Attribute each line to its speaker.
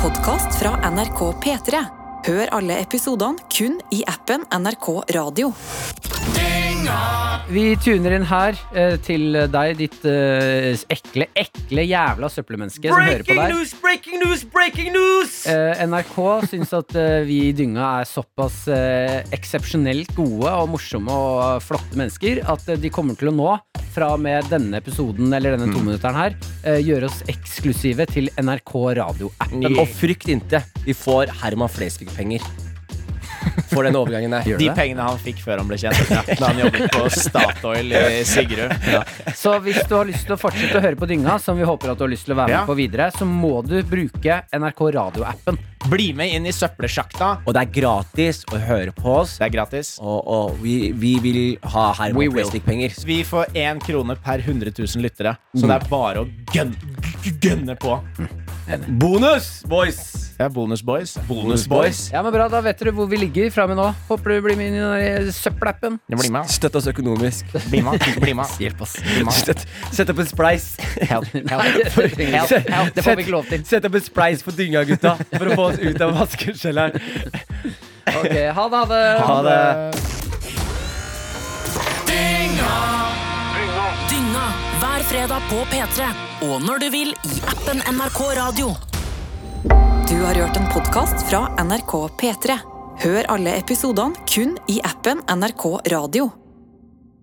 Speaker 1: podkast fra NRK P3. Hør alle episodene kun i appen NRK Radio.
Speaker 2: Vi tuner inn her eh, til deg, ditt eh, ekle, ekle jævla søppelmenneske som hører på
Speaker 3: Breaking
Speaker 2: deg.
Speaker 3: news, breaking news, breaking news!
Speaker 2: Eh, NRK syns at eh, vi i Dynga er såpass eh, eksepsjonelt gode og morsomme og eh, flotte mennesker at eh, de kommer til å nå, fra og med denne episoden eller denne
Speaker 3: Mm.
Speaker 2: tominutteren her, eh, gjøre oss eksklusive til NRK Radio-appen.
Speaker 3: Og frykt inte, vi får Herman Flesvig-penger. For den overgangen der.
Speaker 2: Gjør
Speaker 4: De
Speaker 2: det?
Speaker 4: pengene han fikk før han ble kjent. Ja, da han jobbet på Statoil i Sigrud.
Speaker 2: Så hvis du har lyst til å fortsette å høre på Dynga, som vi håper at du har lyst til å være
Speaker 4: Ja.
Speaker 2: med på videre, så må du bruke NRK Radio-appen.
Speaker 4: Bli med inn i søppelsjakta.
Speaker 3: Og det er gratis å høre på oss.
Speaker 4: Det er gratis.
Speaker 3: Og, og vi, vi vil ha
Speaker 2: We
Speaker 3: Herman
Speaker 2: will.
Speaker 3: Flesvig-penger.
Speaker 4: Vi får én krone per 100 000 lyttere, så det er bare å gønne, gønne på.
Speaker 3: Bonus, boys!
Speaker 4: Det er bonus boys.
Speaker 3: Bonus, boys.
Speaker 2: Ja, men bra, Da vet dere hvor vi ligger fra og med nå. Håper du blir med inn i den der søppelappen.
Speaker 4: Ja, Bli med.
Speaker 3: Støtt oss økonomisk.
Speaker 4: Bli med. Bli med.
Speaker 2: Hjelp, ass.
Speaker 4: Bli med.
Speaker 3: Støtt, sett opp en spleis.
Speaker 4: Help.
Speaker 2: Nei,
Speaker 4: Help.
Speaker 2: det, det, trenger vi ikke. det får vi ikke lov til.
Speaker 3: Sett opp en spleis for dynga, gutta, for å få oss ut av vaskekjelleren.
Speaker 2: Ok, ha det, ha det.
Speaker 3: Ha det.
Speaker 1: Dynga hver fredag på P3. Og når du vil i appen NRK Radio. Du har hørt en podkast fra NRK P3. Hør alle episodene kun i appen NRK Radio.